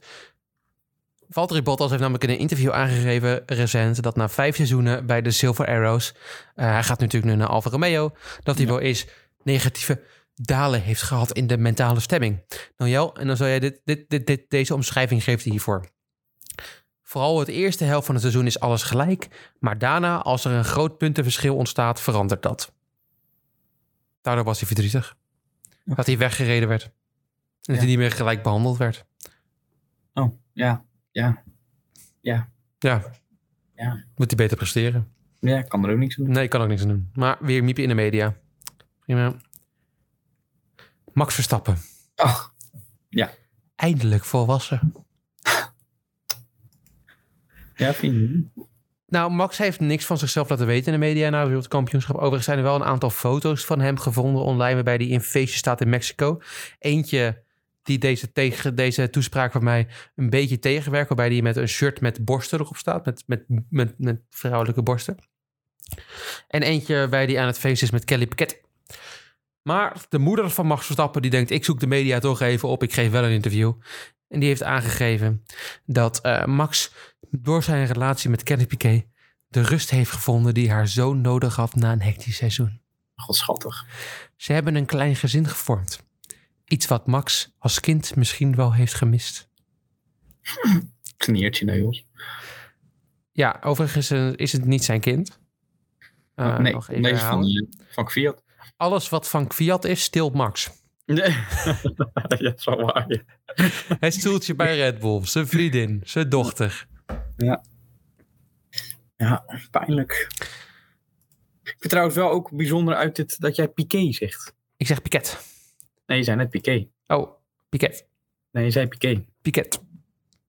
Valtteri Bottas heeft namelijk in een interview aangegeven recent... dat na vijf seizoenen bij de Silver Arrows... eh, hij gaat natuurlijk nu naar Alfa Romeo... dat hij wel eens negatieve dalen heeft gehad in de mentale stemming. Nou Jel, en dan zou jij dit, dit, dit, dit, deze omschrijving geeft hij hiervoor. Vooral het eerste helft van het seizoen is alles gelijk... maar daarna, als er een groot puntenverschil ontstaat, verandert dat. Daardoor was hij verdrietig. Dat hij weggereden werd. En dat
Ja.
hij niet meer gelijk behandeld werd.
Oh, ja. Ja.
Ja.
Ja.
Moet hij beter presteren.
Ja, ik kan er ook niks aan doen.
Nee, ik kan ook niks aan doen. Maar weer miepen in de media. Prima. Max Verstappen.
Ach,
Eindelijk volwassen.
ja, vind je?
Nou, Max heeft niks van zichzelf laten weten in de media na het wereldkampioenschap. Overigens zijn er wel een aantal foto's van hem gevonden online... waarbij hij in feestje staat in Mexico. Eentje die deze, tegen, deze toespraak van mij een beetje tegenwerkt... waarbij hij met een shirt met borsten erop staat. Met, met, met, met vrouwelijke borsten. En eentje waarbij hij aan het feest is met Kelly Piquet. Maar de moeder van Max Verstappen die denkt... ik zoek de media toch even op, ik geef wel een interview. En die heeft aangegeven dat eh, Max door zijn relatie met Kelly Piquet... de rust heeft gevonden die haar zo nodig had na een hectisch seizoen.
Godschattig.
Ze hebben een klein gezin gevormd. Iets wat Max als kind misschien wel heeft gemist.
Kneertje, nee, joh.
Ja, overigens eh, is het niet zijn kind. Eh,
Oh, nee,
nog even
deze is
herhalen.
van, eh, van Fiat.
Alles wat van Fiat is, stilt Max.
Nee. ja, zo waar. ja.
Het stoeltje bij Red Bull, zijn vriendin, zijn dochter.
Ja, pijnlijk. Ik vind het trouwens wel ook bijzonder uit dit dat jij Piqué zegt.
Ik zeg Piquet.
Nee, je zei net Piqué.
Oh, Piquet.
Nee, je zei Piqué.
Piquet.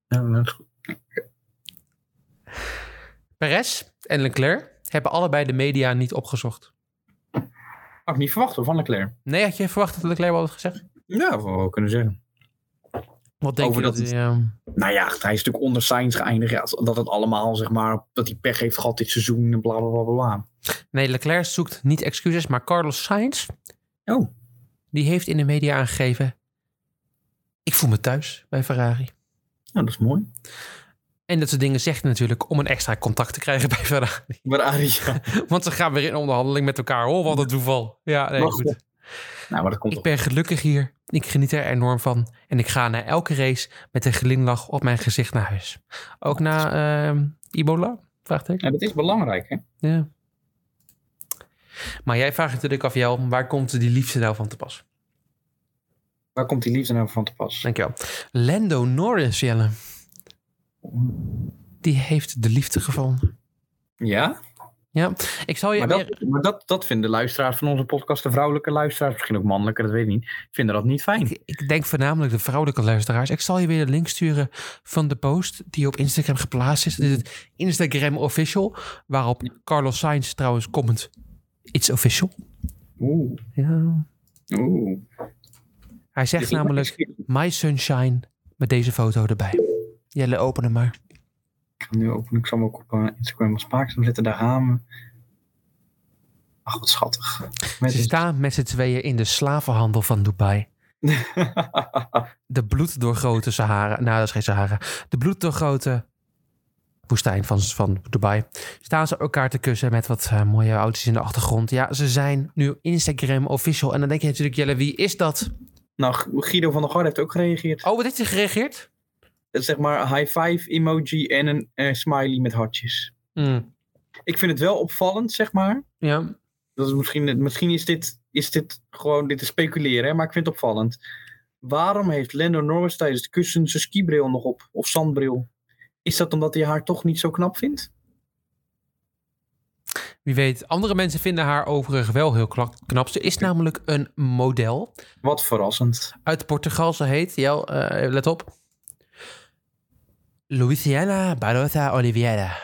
Ja, dat is goed.
Perez en Leclerc hebben allebei de media niet opgezocht.
Had ik niet verwacht hoor, van Leclerc.
Nee, had je verwacht dat Leclerc wel had gezegd?
Ja, dat we wel kunnen zeggen.
Wat denk
Over
je dat,
dat
hij, ehm,
Nou ja, hij is natuurlijk onder Sainz geëindigd. Ja, dat het allemaal, zeg maar, dat hij pech heeft gehad dit seizoen en bla bla bla bla.
Nee, Leclerc zoekt niet excuses, maar Carlos Sainz,
bla. Oh,
die heeft in de media aangegeven... ik voel me thuis bij Ferrari.
nou, dat is mooi.
En dat soort dingen zegt hij natuurlijk om een extra contact te krijgen bij Ferrari.
Maar Aria.
Want ze gaan weer in onderhandeling met elkaar. Oh, wat een toeval. Ja, nee,
Mag
goed.
nou, maar dat komt
Ik
toch.
ben gelukkig hier. Ik geniet er enorm van. En ik ga na elke race met een glimlach op mijn gezicht naar huis. Ook na ehm Ebola? Vraagteken.
Ja, dat is belangrijk, hè?
Ja. Maar jij vraagt natuurlijk af, Jel, waar komt die liefde nou van te pas?
Waar komt die liefde nou van te pas?
Dankjewel. Lando Norris, Jelle. Die heeft de liefde gevonden.
Ja?
Ja, ik zal je
Maar,
meer...
dat, maar dat, dat vinden luisteraars van onze podcast, de vrouwelijke luisteraars, misschien ook mannelijke, dat weet ik niet, vinden dat niet fijn.
Ik, ik denk voornamelijk de vrouwelijke luisteraars. Ik zal je weer de link sturen van de post die op Instagram geplaatst is. Dit is het Instagram official, waarop Carlos Sainz trouwens comment. It's official.
Oeh,
Ja.
oeh.
Hij zegt namelijk My Sunshine met deze foto erbij. Jelle, open hem maar.
Ik ga hem nu openen. Ik zal hem ook op eh, Instagram als Spaakzaam zetten. Daar gaan we. Ach, wat schattig. Met
Ze staan met z'n tweeën in de slavenhandel van Dubai. De bloeddoorgrote Sahara. Nou, dat is geen Sahara. De bloeddoorgrote woestijn van, van Dubai. Staan ze elkaar te kussen met wat eh, mooie auto's in de achtergrond. Ja, ze zijn nu Instagram official. En dan denk je natuurlijk, Jelle, wie is dat?
nou, G- Guido van der Garde heeft ook gereageerd.
Oh, wat heeft hij gereageerd?
Het is Eh, Zeg maar een high five emoji en een eh, smiley met hartjes.
Hmm,
Ik vind het wel opvallend, zeg maar.
ja.
Dat is misschien, misschien is, dit, is dit gewoon dit is speculeren, hè, maar ik vind het opvallend. Waarom heeft Lando Norris tijdens het kussen zijn skibril nog op? Of zandbril? Is dat omdat hij haar toch niet zo knap vindt?
Wie weet, andere mensen vinden haar overigens wel heel kla- knap. Ze is namelijk een model.
Wat verrassend.
uit Portugal, ze heet. Jel, eh, let op. Luisiana Barota Oliveira.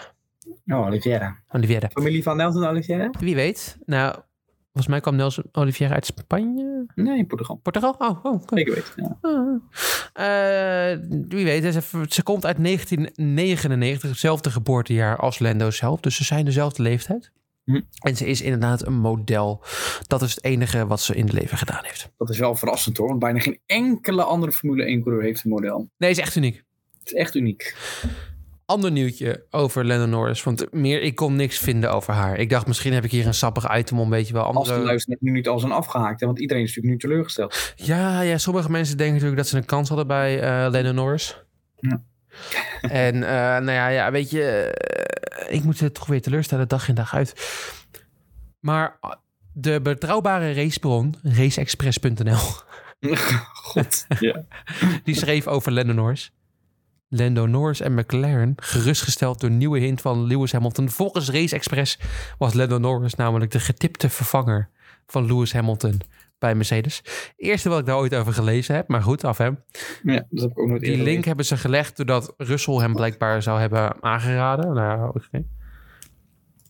Oh, Oliveira.
Oliveira.
Familie van Nelson Oliveira?
Wie weet. Nou, volgens mij kwam Nelson Oliveira uit Spanje.
Nee, Portugal.
Portugal? Oh, oh. oké. Ah.
Zeker weten. Ja.
Eh, wie weet. Ze, ze komt uit 1999, hetzelfde geboortejaar als Lando zelf. Dus ze zijn dezelfde leeftijd.
Hm.
En ze is inderdaad een model. Dat is het enige wat ze in het leven gedaan heeft.
Dat is wel verrassend hoor, want bijna geen enkele andere Formule 1 coureur heeft een model.
Nee, is echt uniek.
Het is echt uniek.
ander nieuwtje over Lando Norris. Want meer, ik kon niks vinden over haar. Ik dacht, misschien heb ik hier een sappig item om, weet je wel.
Als eh, de
Andere...
luisteraars nu niet al zijn afgehaakt, hè, want iedereen is natuurlijk nu teleurgesteld.
Ja, ja, sommige mensen denken natuurlijk dat ze een kans hadden bij eh Lando Norris.
Ja.
En eh, nou ja, ja, weet je, eh, ik moet het toch weer teleurstellen, dag in dag uit. Maar ah, de betrouwbare racebron, raceexpress.nl,
God. Ja.
die schreef over Lando Norris. Lando Norris en McLaren, gerustgesteld door nieuwe hint van Lewis Hamilton. Volgens Race Express was Lando Norris namelijk de getipte vervanger van Lewis Hamilton bij Mercedes. Eerste wat ik daar ooit over gelezen heb, maar goed, af hem.
ja, dat heb ik ook nooit
Die
eerder
link hebben ze gelegd doordat Russell hem blijkbaar zou hebben aangeraden. Nou, ja, oké.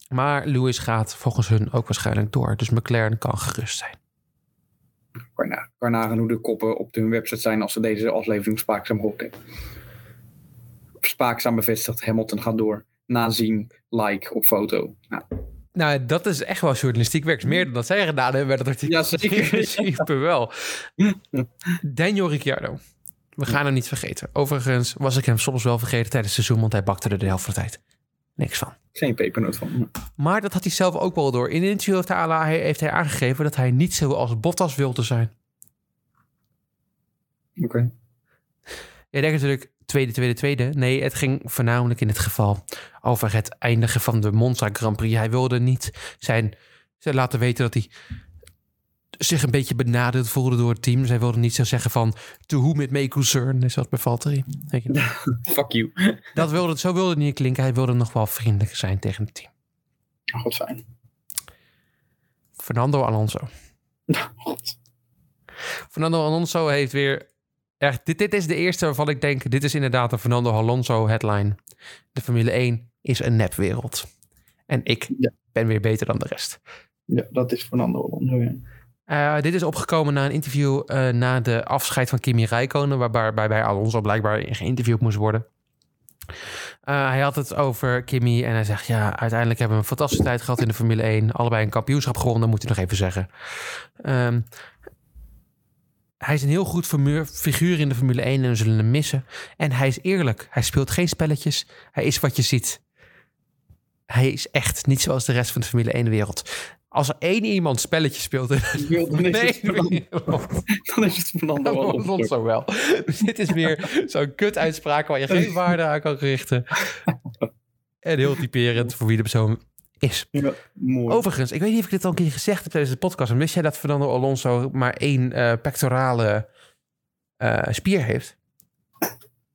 Maar Lewis gaat volgens hun ook waarschijnlijk door. Dus McLaren kan gerust zijn.
gelezen. Kan je na- kan je nagaan hoe de koppen op hun website zijn als ze deze aflevering spaakzaam gehoord hebben. Spaakzaam bevestigd, Hamilton gaat door. Nazien, like op foto. Nou,
Nou, dat is echt wel journalistiek werk. Meer dan dat zij gedaan hebben bij dat artikel.
Ja, zeker.
In principe wel. Daniel Ricciardo. We gaan hem niet vergeten. Overigens was ik hem soms wel vergeten tijdens het seizoen, want hij bakte er de helft van de tijd. Niks van.
geen pepernoot van.
Maar dat had hij zelf ook wel door. In een interview heeft hij, ala- heeft hij aangegeven dat hij niet zoals Bottas wilde zijn.
Oké.
Je denkt natuurlijk tweede, tweede, tweede. Nee, het ging voornamelijk in het geval over het eindigen van de Monza Grand Prix. Hij wilde niet zijn, ze laten weten dat hij zich een beetje benadeeld voelde door het team. Zij wilde niet zo zeggen van to whom it may concern, net zoals bij Valtteri. Weet je?
Fuck you.
Dat wilde, het- zo wilde het niet klinken. Hij wilde nog wel vriendelijk zijn tegen het team.
Oh, God, fijn.
Fernando Alonso.
God.
Fernando Alonso heeft weer. Echt, dit, dit is de eerste waarvan ik denk: dit is inderdaad een Fernando Alonso headline. De Formule 1 is een nepwereld. En ik
Ja.
ben weer beter dan de rest.
Ja, dat is Fernando Alonso, ja.
Eh, dit is opgekomen na een interview eh, na de afscheid van Kimi Räikkönen, waarbij waarbij bij Alonso blijkbaar geïnterviewd moest worden. Eh, hij had het over Kimi en hij zegt: Ja, uiteindelijk hebben we een fantastische tijd gehad in de Formule 1. Allebei een kampioenschap gewonnen, moet hij nog even zeggen. Ehm, hij is een heel goed formu- figuur in de Formule 1 en we zullen hem missen. En hij is eerlijk. Hij speelt geen spelletjes. Hij is wat je ziet. Hij is echt niet zoals de rest van de Formule 1-wereld. Als er één iemand spelletjes speelt in
Dan is het Fernando-
Nee, Alonso.
dan is het Fernando Alonso.
Alonso wel. Dus dit is weer zo'n kut-uitspraak waar je geen waarde aan kan richten. En heel typerend voor wie de persoon is.
Ja, mooi.
Overigens, ik weet niet of ik dit al een keer gezegd heb tijdens de podcast. Maar wist jij dat Fernando Alonso maar één eh, pectorale eh, spier heeft?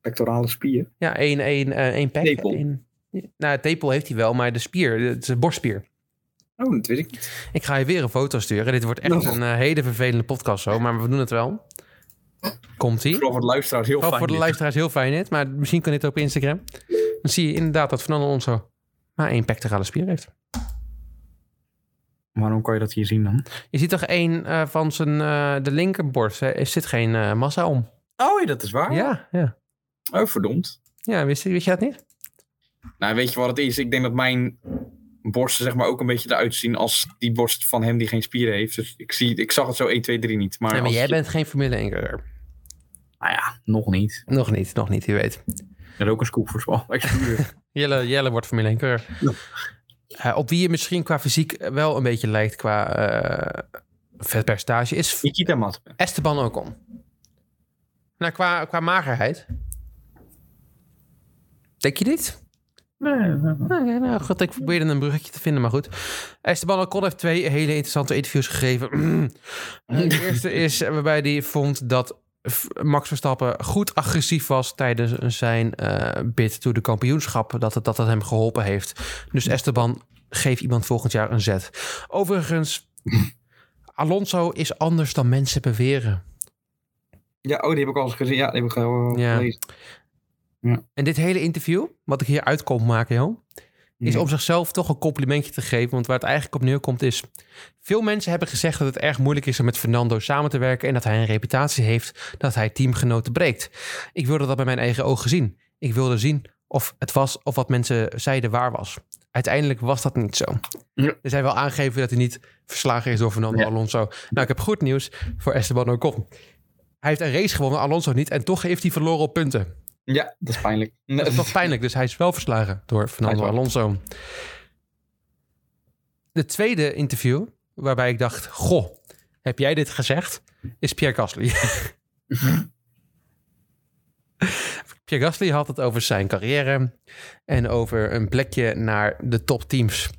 Pectorale spier.
Ja, één, één, eh, één pec.
Tepel.
één- nou, tepel heeft hij wel, maar de spier, de, de borstspier.
Oh, dat weet ik niet.
Ik ga je weer een foto sturen. Dit wordt echt
Nou.
een eh, hele vervelende podcast zo, maar we doen het wel. Komt-ie.
Vooral voor de luisteraars heel
Vooral
fijn.
voor de
dit.
luisteraars heel fijn dit, maar misschien kan dit ook op Instagram. Dan zie je inderdaad dat Fernando Alonso maar één pectorale spier heeft.
Waarom kan je dat hier zien dan?
Je ziet toch één eh, van zijn, eh, de linkerborst, hè, er zit geen eh, massa om.
Oh, ja, dat is waar.
Ja, ja.
Oh, verdomd.
Ja, wist, je- wist je dat niet?
Nou, weet je wat het is? Ik denk dat mijn borsten zeg maar ook een beetje eruit zien als die borst van hem die geen spieren heeft. Dus ik, zie, ik zag het zo 1, 2, 3 niet. Maar,
Nee, maar
als-
jij bent geen Formule 1 coureur.
Nou ja, nog niet.
Nog niet, nog niet, je weet.
Ik heb ook een scoop voor Spa. Excuus.
Jelle, Jelle wordt Formule 1 coureur. Eh, op wie je misschien qua fysiek wel een beetje lijkt qua eh, vetpercentage is
Nikita Mat.
Esteban Ocon. Nou, qua, qua magerheid. Denk je niet? Nou, ja, nou goed, ik probeerde een bruggetje te vinden, maar goed. Esteban Ocon heeft twee hele interessante interviews gegeven. Eh, De eerste is waarbij hij vond dat F- Max Verstappen goed agressief was tijdens zijn eh, bid toe de kampioenschap. Dat het, dat het hem geholpen heeft. Dus Esteban, geef iemand volgend jaar een zet. Overigens, Alonso is anders dan mensen beweren.
Ja, oh, die heb ik al eens gezien. Ja, die heb ik al
Ja.
gelezen.
En dit hele interview, wat ik hier uit kon maken, joh. is
Ja.
om zichzelf toch een complimentje te geven. Want waar het eigenlijk op neerkomt is... veel mensen hebben gezegd dat het erg moeilijk is om met Fernando samen te werken... en dat hij een reputatie heeft dat hij teamgenoten breekt. Ik wilde dat bij mijn eigen ogen zien. Ik wilde zien of het was of wat mensen zeiden waar was. Uiteindelijk was dat niet zo.
Ja.
Er zijn wel aangegeven dat hij niet verslagen is door Fernando
Ja.
Alonso. Nou, ik heb goed nieuws voor Esteban Ocon. Hij heeft een race gewonnen, Alonso niet. En toch heeft hij verloren op punten.
Ja, dat is pijnlijk.
Dat is toch pijnlijk. Dus hij is wel verslagen door Fernando
Hij is wel-
Alonso. De tweede interview, waarbij ik dacht... Goh, heb jij dit gezegd? Is Pierre Gasly. Pierre Gasly had het over zijn carrière... en over een plekje naar de topteams.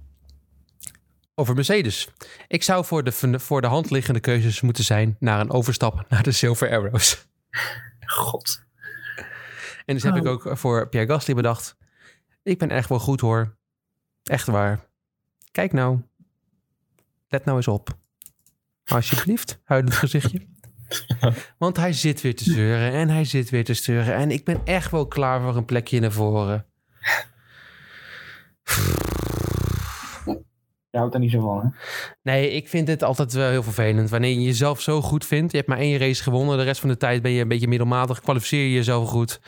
Over Mercedes. Ik zou voor de, voor de hand liggende keuzes moeten zijn... naar een overstap naar de Silver Arrows.
God.
En dus heb ik ook voor Pierre Gasly bedacht. Ik ben echt wel goed hoor. Echt waar. Kijk nou. Let nou eens op. Alsjeblieft, huilend gezichtje. Want hij zit weer te zeuren en hij zit weer te sturen. En ik ben echt wel klaar voor een plekje naar voren.
Je houdt daar niet zo van, hè?
Nee, ik vind dit altijd wel heel vervelend. Wanneer je jezelf zo goed vindt. Je hebt maar één race gewonnen. De rest van de tijd ben je een beetje middelmatig. Kwalificeer je jezelf goed.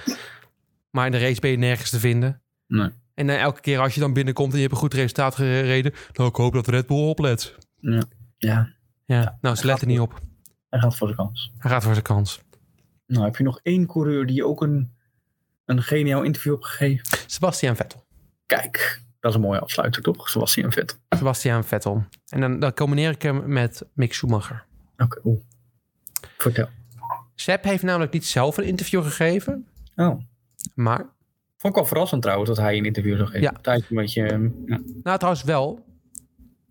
Maar in de race ben je nergens te vinden.
Nee.
En dan elke keer als je dan binnenkomt en je hebt een goed resultaat gereden. Nou, ik hoop dat Red Bull oplet.
Ja,
Ja, nou, ze letten niet op.
hij gaat voor de kans.
Hij gaat voor zijn kans.
Nou, heb je nog één coureur die ook een, een geniaal interview heeft gegeven?
Sebastian Vettel.
Kijk, dat is een mooie afsluiter, toch? Sebastian Vettel.
Sebastian Vettel. En dan, dan combineer ik hem met Mick Schumacher.
Oké, oeh. Vertel.
Seb heeft namelijk niet zelf een interview gegeven.
Oh.
Maar
Vond ik wel verrassend trouwens dat hij een interview zou geven.
Ja.
Tijdje een beetje... ehm, ja,
Nou, trouwens wel.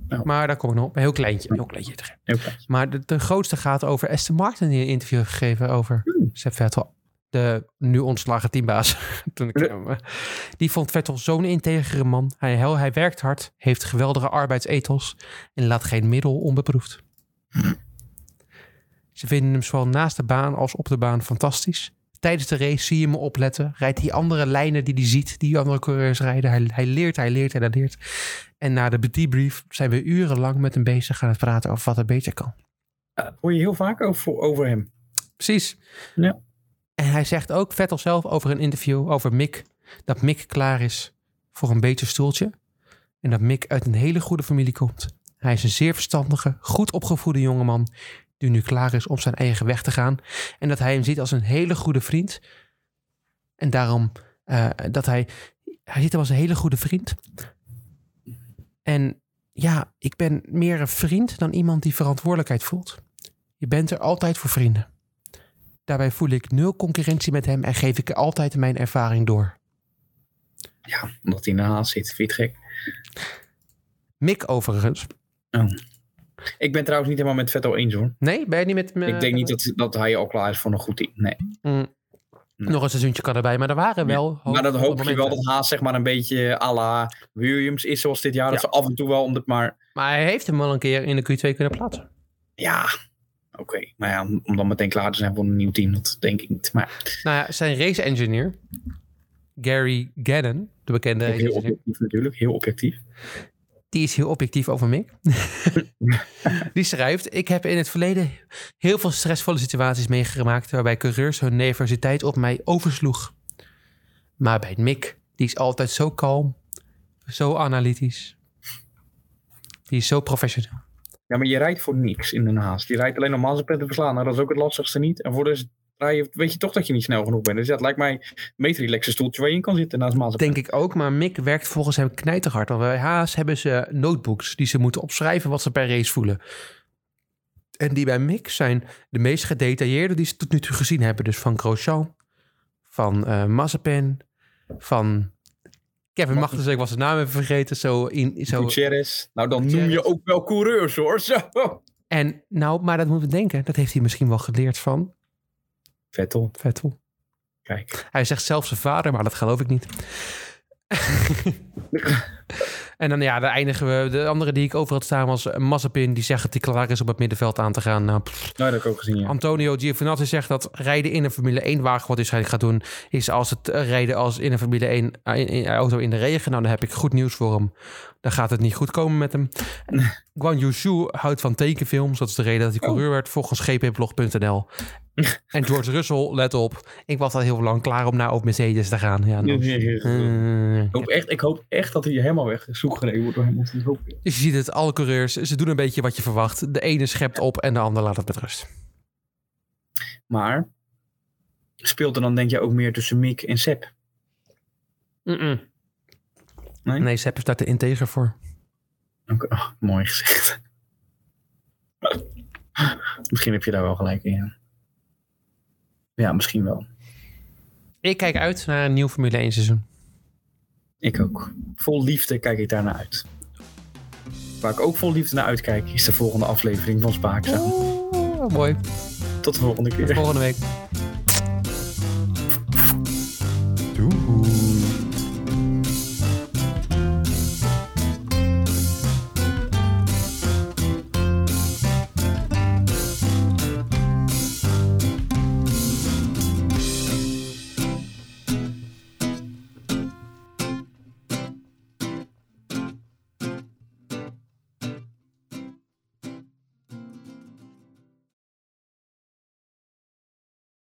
Ja.
Maar daar kom ik nog op. Een heel kleintje. Een heel kleintje.
heel fijn.
Maar de, de grootste gaat over Aston Martin die een interview heeft gegeven over Seb Vettel. De nu ontslagen teambaas. Toen ik, eh, die vond Vettel zo'n integere man. Hij, hel- hij werkt hard, heeft geweldige arbeidsethos en laat geen middel onbeproefd. Ze vinden hem zowel naast de baan als op de baan fantastisch. Tijdens de race zie je hem opletten. Rijdt die andere lijnen die hij ziet, die andere coureurs rijden. Hij, hij leert, hij leert en hij leert. En na de debrief zijn we urenlang met hem bezig aan het praten over wat er beter kan.
Ja, Eh, hoor je heel vaak over, over hem.
Precies.
Ja.
En hij zegt ook Vettel zelf over een interview over Mick. Dat Mick klaar is voor een beter stoeltje. En dat Mick uit een hele goede familie komt. Hij is een zeer verstandige, goed opgevoede jongeman. Die nu klaar is om zijn eigen weg te gaan. En dat hij hem ziet als een hele goede vriend. En daarom eh, dat hij. Hij ziet hem als een hele goede vriend. En ja, ik ben meer een vriend dan iemand die verantwoordelijkheid voelt. Je bent er altijd voor vrienden. Daarbij voel ik nul concurrentie met hem en geef ik altijd mijn ervaring door.
Ja, omdat hij in de haast zit. Vind je het gek?
Mick overigens.
Ik ben trouwens niet helemaal met Vettel eens, hoor.
Nee, ben je niet met me?
ik denk niet dat, dat hij al klaar is voor een goed team. Nee.
Mm.
Nee.
Nog een seizoentje kan erbij, maar er waren wel.
Maar
hoopvolle
dat hoop je wel
momenten.
dat Haas zeg maar een beetje à la Williams is zoals dit jaar. Dat
Ja.
ze af en toe wel, om het maar
Maar hij heeft hem wel een keer in de Q2 kunnen plaatsen.
Ja, oké. Nou ja, om- om dan meteen klaar te zijn voor een nieuw team, dat denk ik niet. Maar
Nou ja, zijn race engineer, Gary Gannon, de bekende race
heel
engineer,
objectief natuurlijk, heel objectief.
die is heel objectief over Mick. die schrijft, ik heb in het verleden heel veel stressvolle situaties meegemaakt waarbij coureurs hun nervositeit op mij oversloeg. Maar bij Mick, die is altijd zo kalm, zo analytisch. Die is zo professioneel.
Ja, maar je rijdt voor niks in een haast. Je rijdt alleen om Mazepin te verslaan. Nou, dat is ook het lastigste niet. En voor de rest rij je, weet je toch dat je niet snel genoeg bent. Dus dat lijkt mij een meest relaxe stoeltje waar je in kan zitten naast Mazepin.
Denk ik ook, maar Mick werkt volgens hem knijterhard. Want bij Haas hebben ze notebooks die ze moeten opschrijven wat ze per race voelen. En die bij Mick zijn de meest gedetailleerde die ze tot nu toe gezien hebben. Dus van Grosjean, van eh Mazepin, van Kevin Magnussen. Ik was de naam even vergeten. Zo in, zo.
Gutierrez. Nou, dan noem je
Gutierrez.
ook wel coureurs hoor. Zo.
En nou, maar dat moeten we denken. Dat heeft hij misschien wel geleerd van
Vettel,
Vettel.
kijk.
Hij zegt zelfs zijn vader, maar dat geloof ik niet. en dan ja, dan eindigen we. De andere die ik over had staan was Mazepin. Die zegt dat hij klaar is om het middenveld aan te gaan. Nou, pff.
Nou, dat heb ik ook gezien, ja.
Antonio Giovinazzi zegt dat rijden in een Formule 1-wagen... wat hij waarschijnlijk gaat doen, is als het eh, rijden als in een Formule 1 a- in- in- auto in de regen. Nou, dan heb ik goed nieuws voor hem. Dan gaat het niet goed komen met hem. Guan Yu Zhu houdt van tekenfilms. Dat is de reden dat hij coureur werd volgens gpblog.nl. en George Russell, let op. Ik was al heel lang klaar om naar op Mercedes te gaan. Ja, nou, eh,
Ik hoop, echt, ik hoop echt dat hij helemaal weg zoek gereden wordt door Hamilton. Dat hoop ik.
Dus je ziet het, alle coureurs, ze doen een beetje wat je verwacht. De ene schept op en de ander laat het met rust.
Maar speelt er dan denk je ook meer tussen Mick en Sepp?
Nee?
Nee?
nee, Sepp is daar te integer voor.
Oké, oh, mooi gezegd. misschien heb je daar wel gelijk in. ja. Ja, misschien wel.
Ik kijk uit naar een nieuw Formule 1 seizoen.
Ik ook. Vol liefde kijk ik daarnaar uit. Waar ik ook vol liefde naar uitkijk, is de volgende aflevering van Spaakzaam.
Oh, mooi.
Tot de volgende
Tot
keer.
volgende week.
Doei.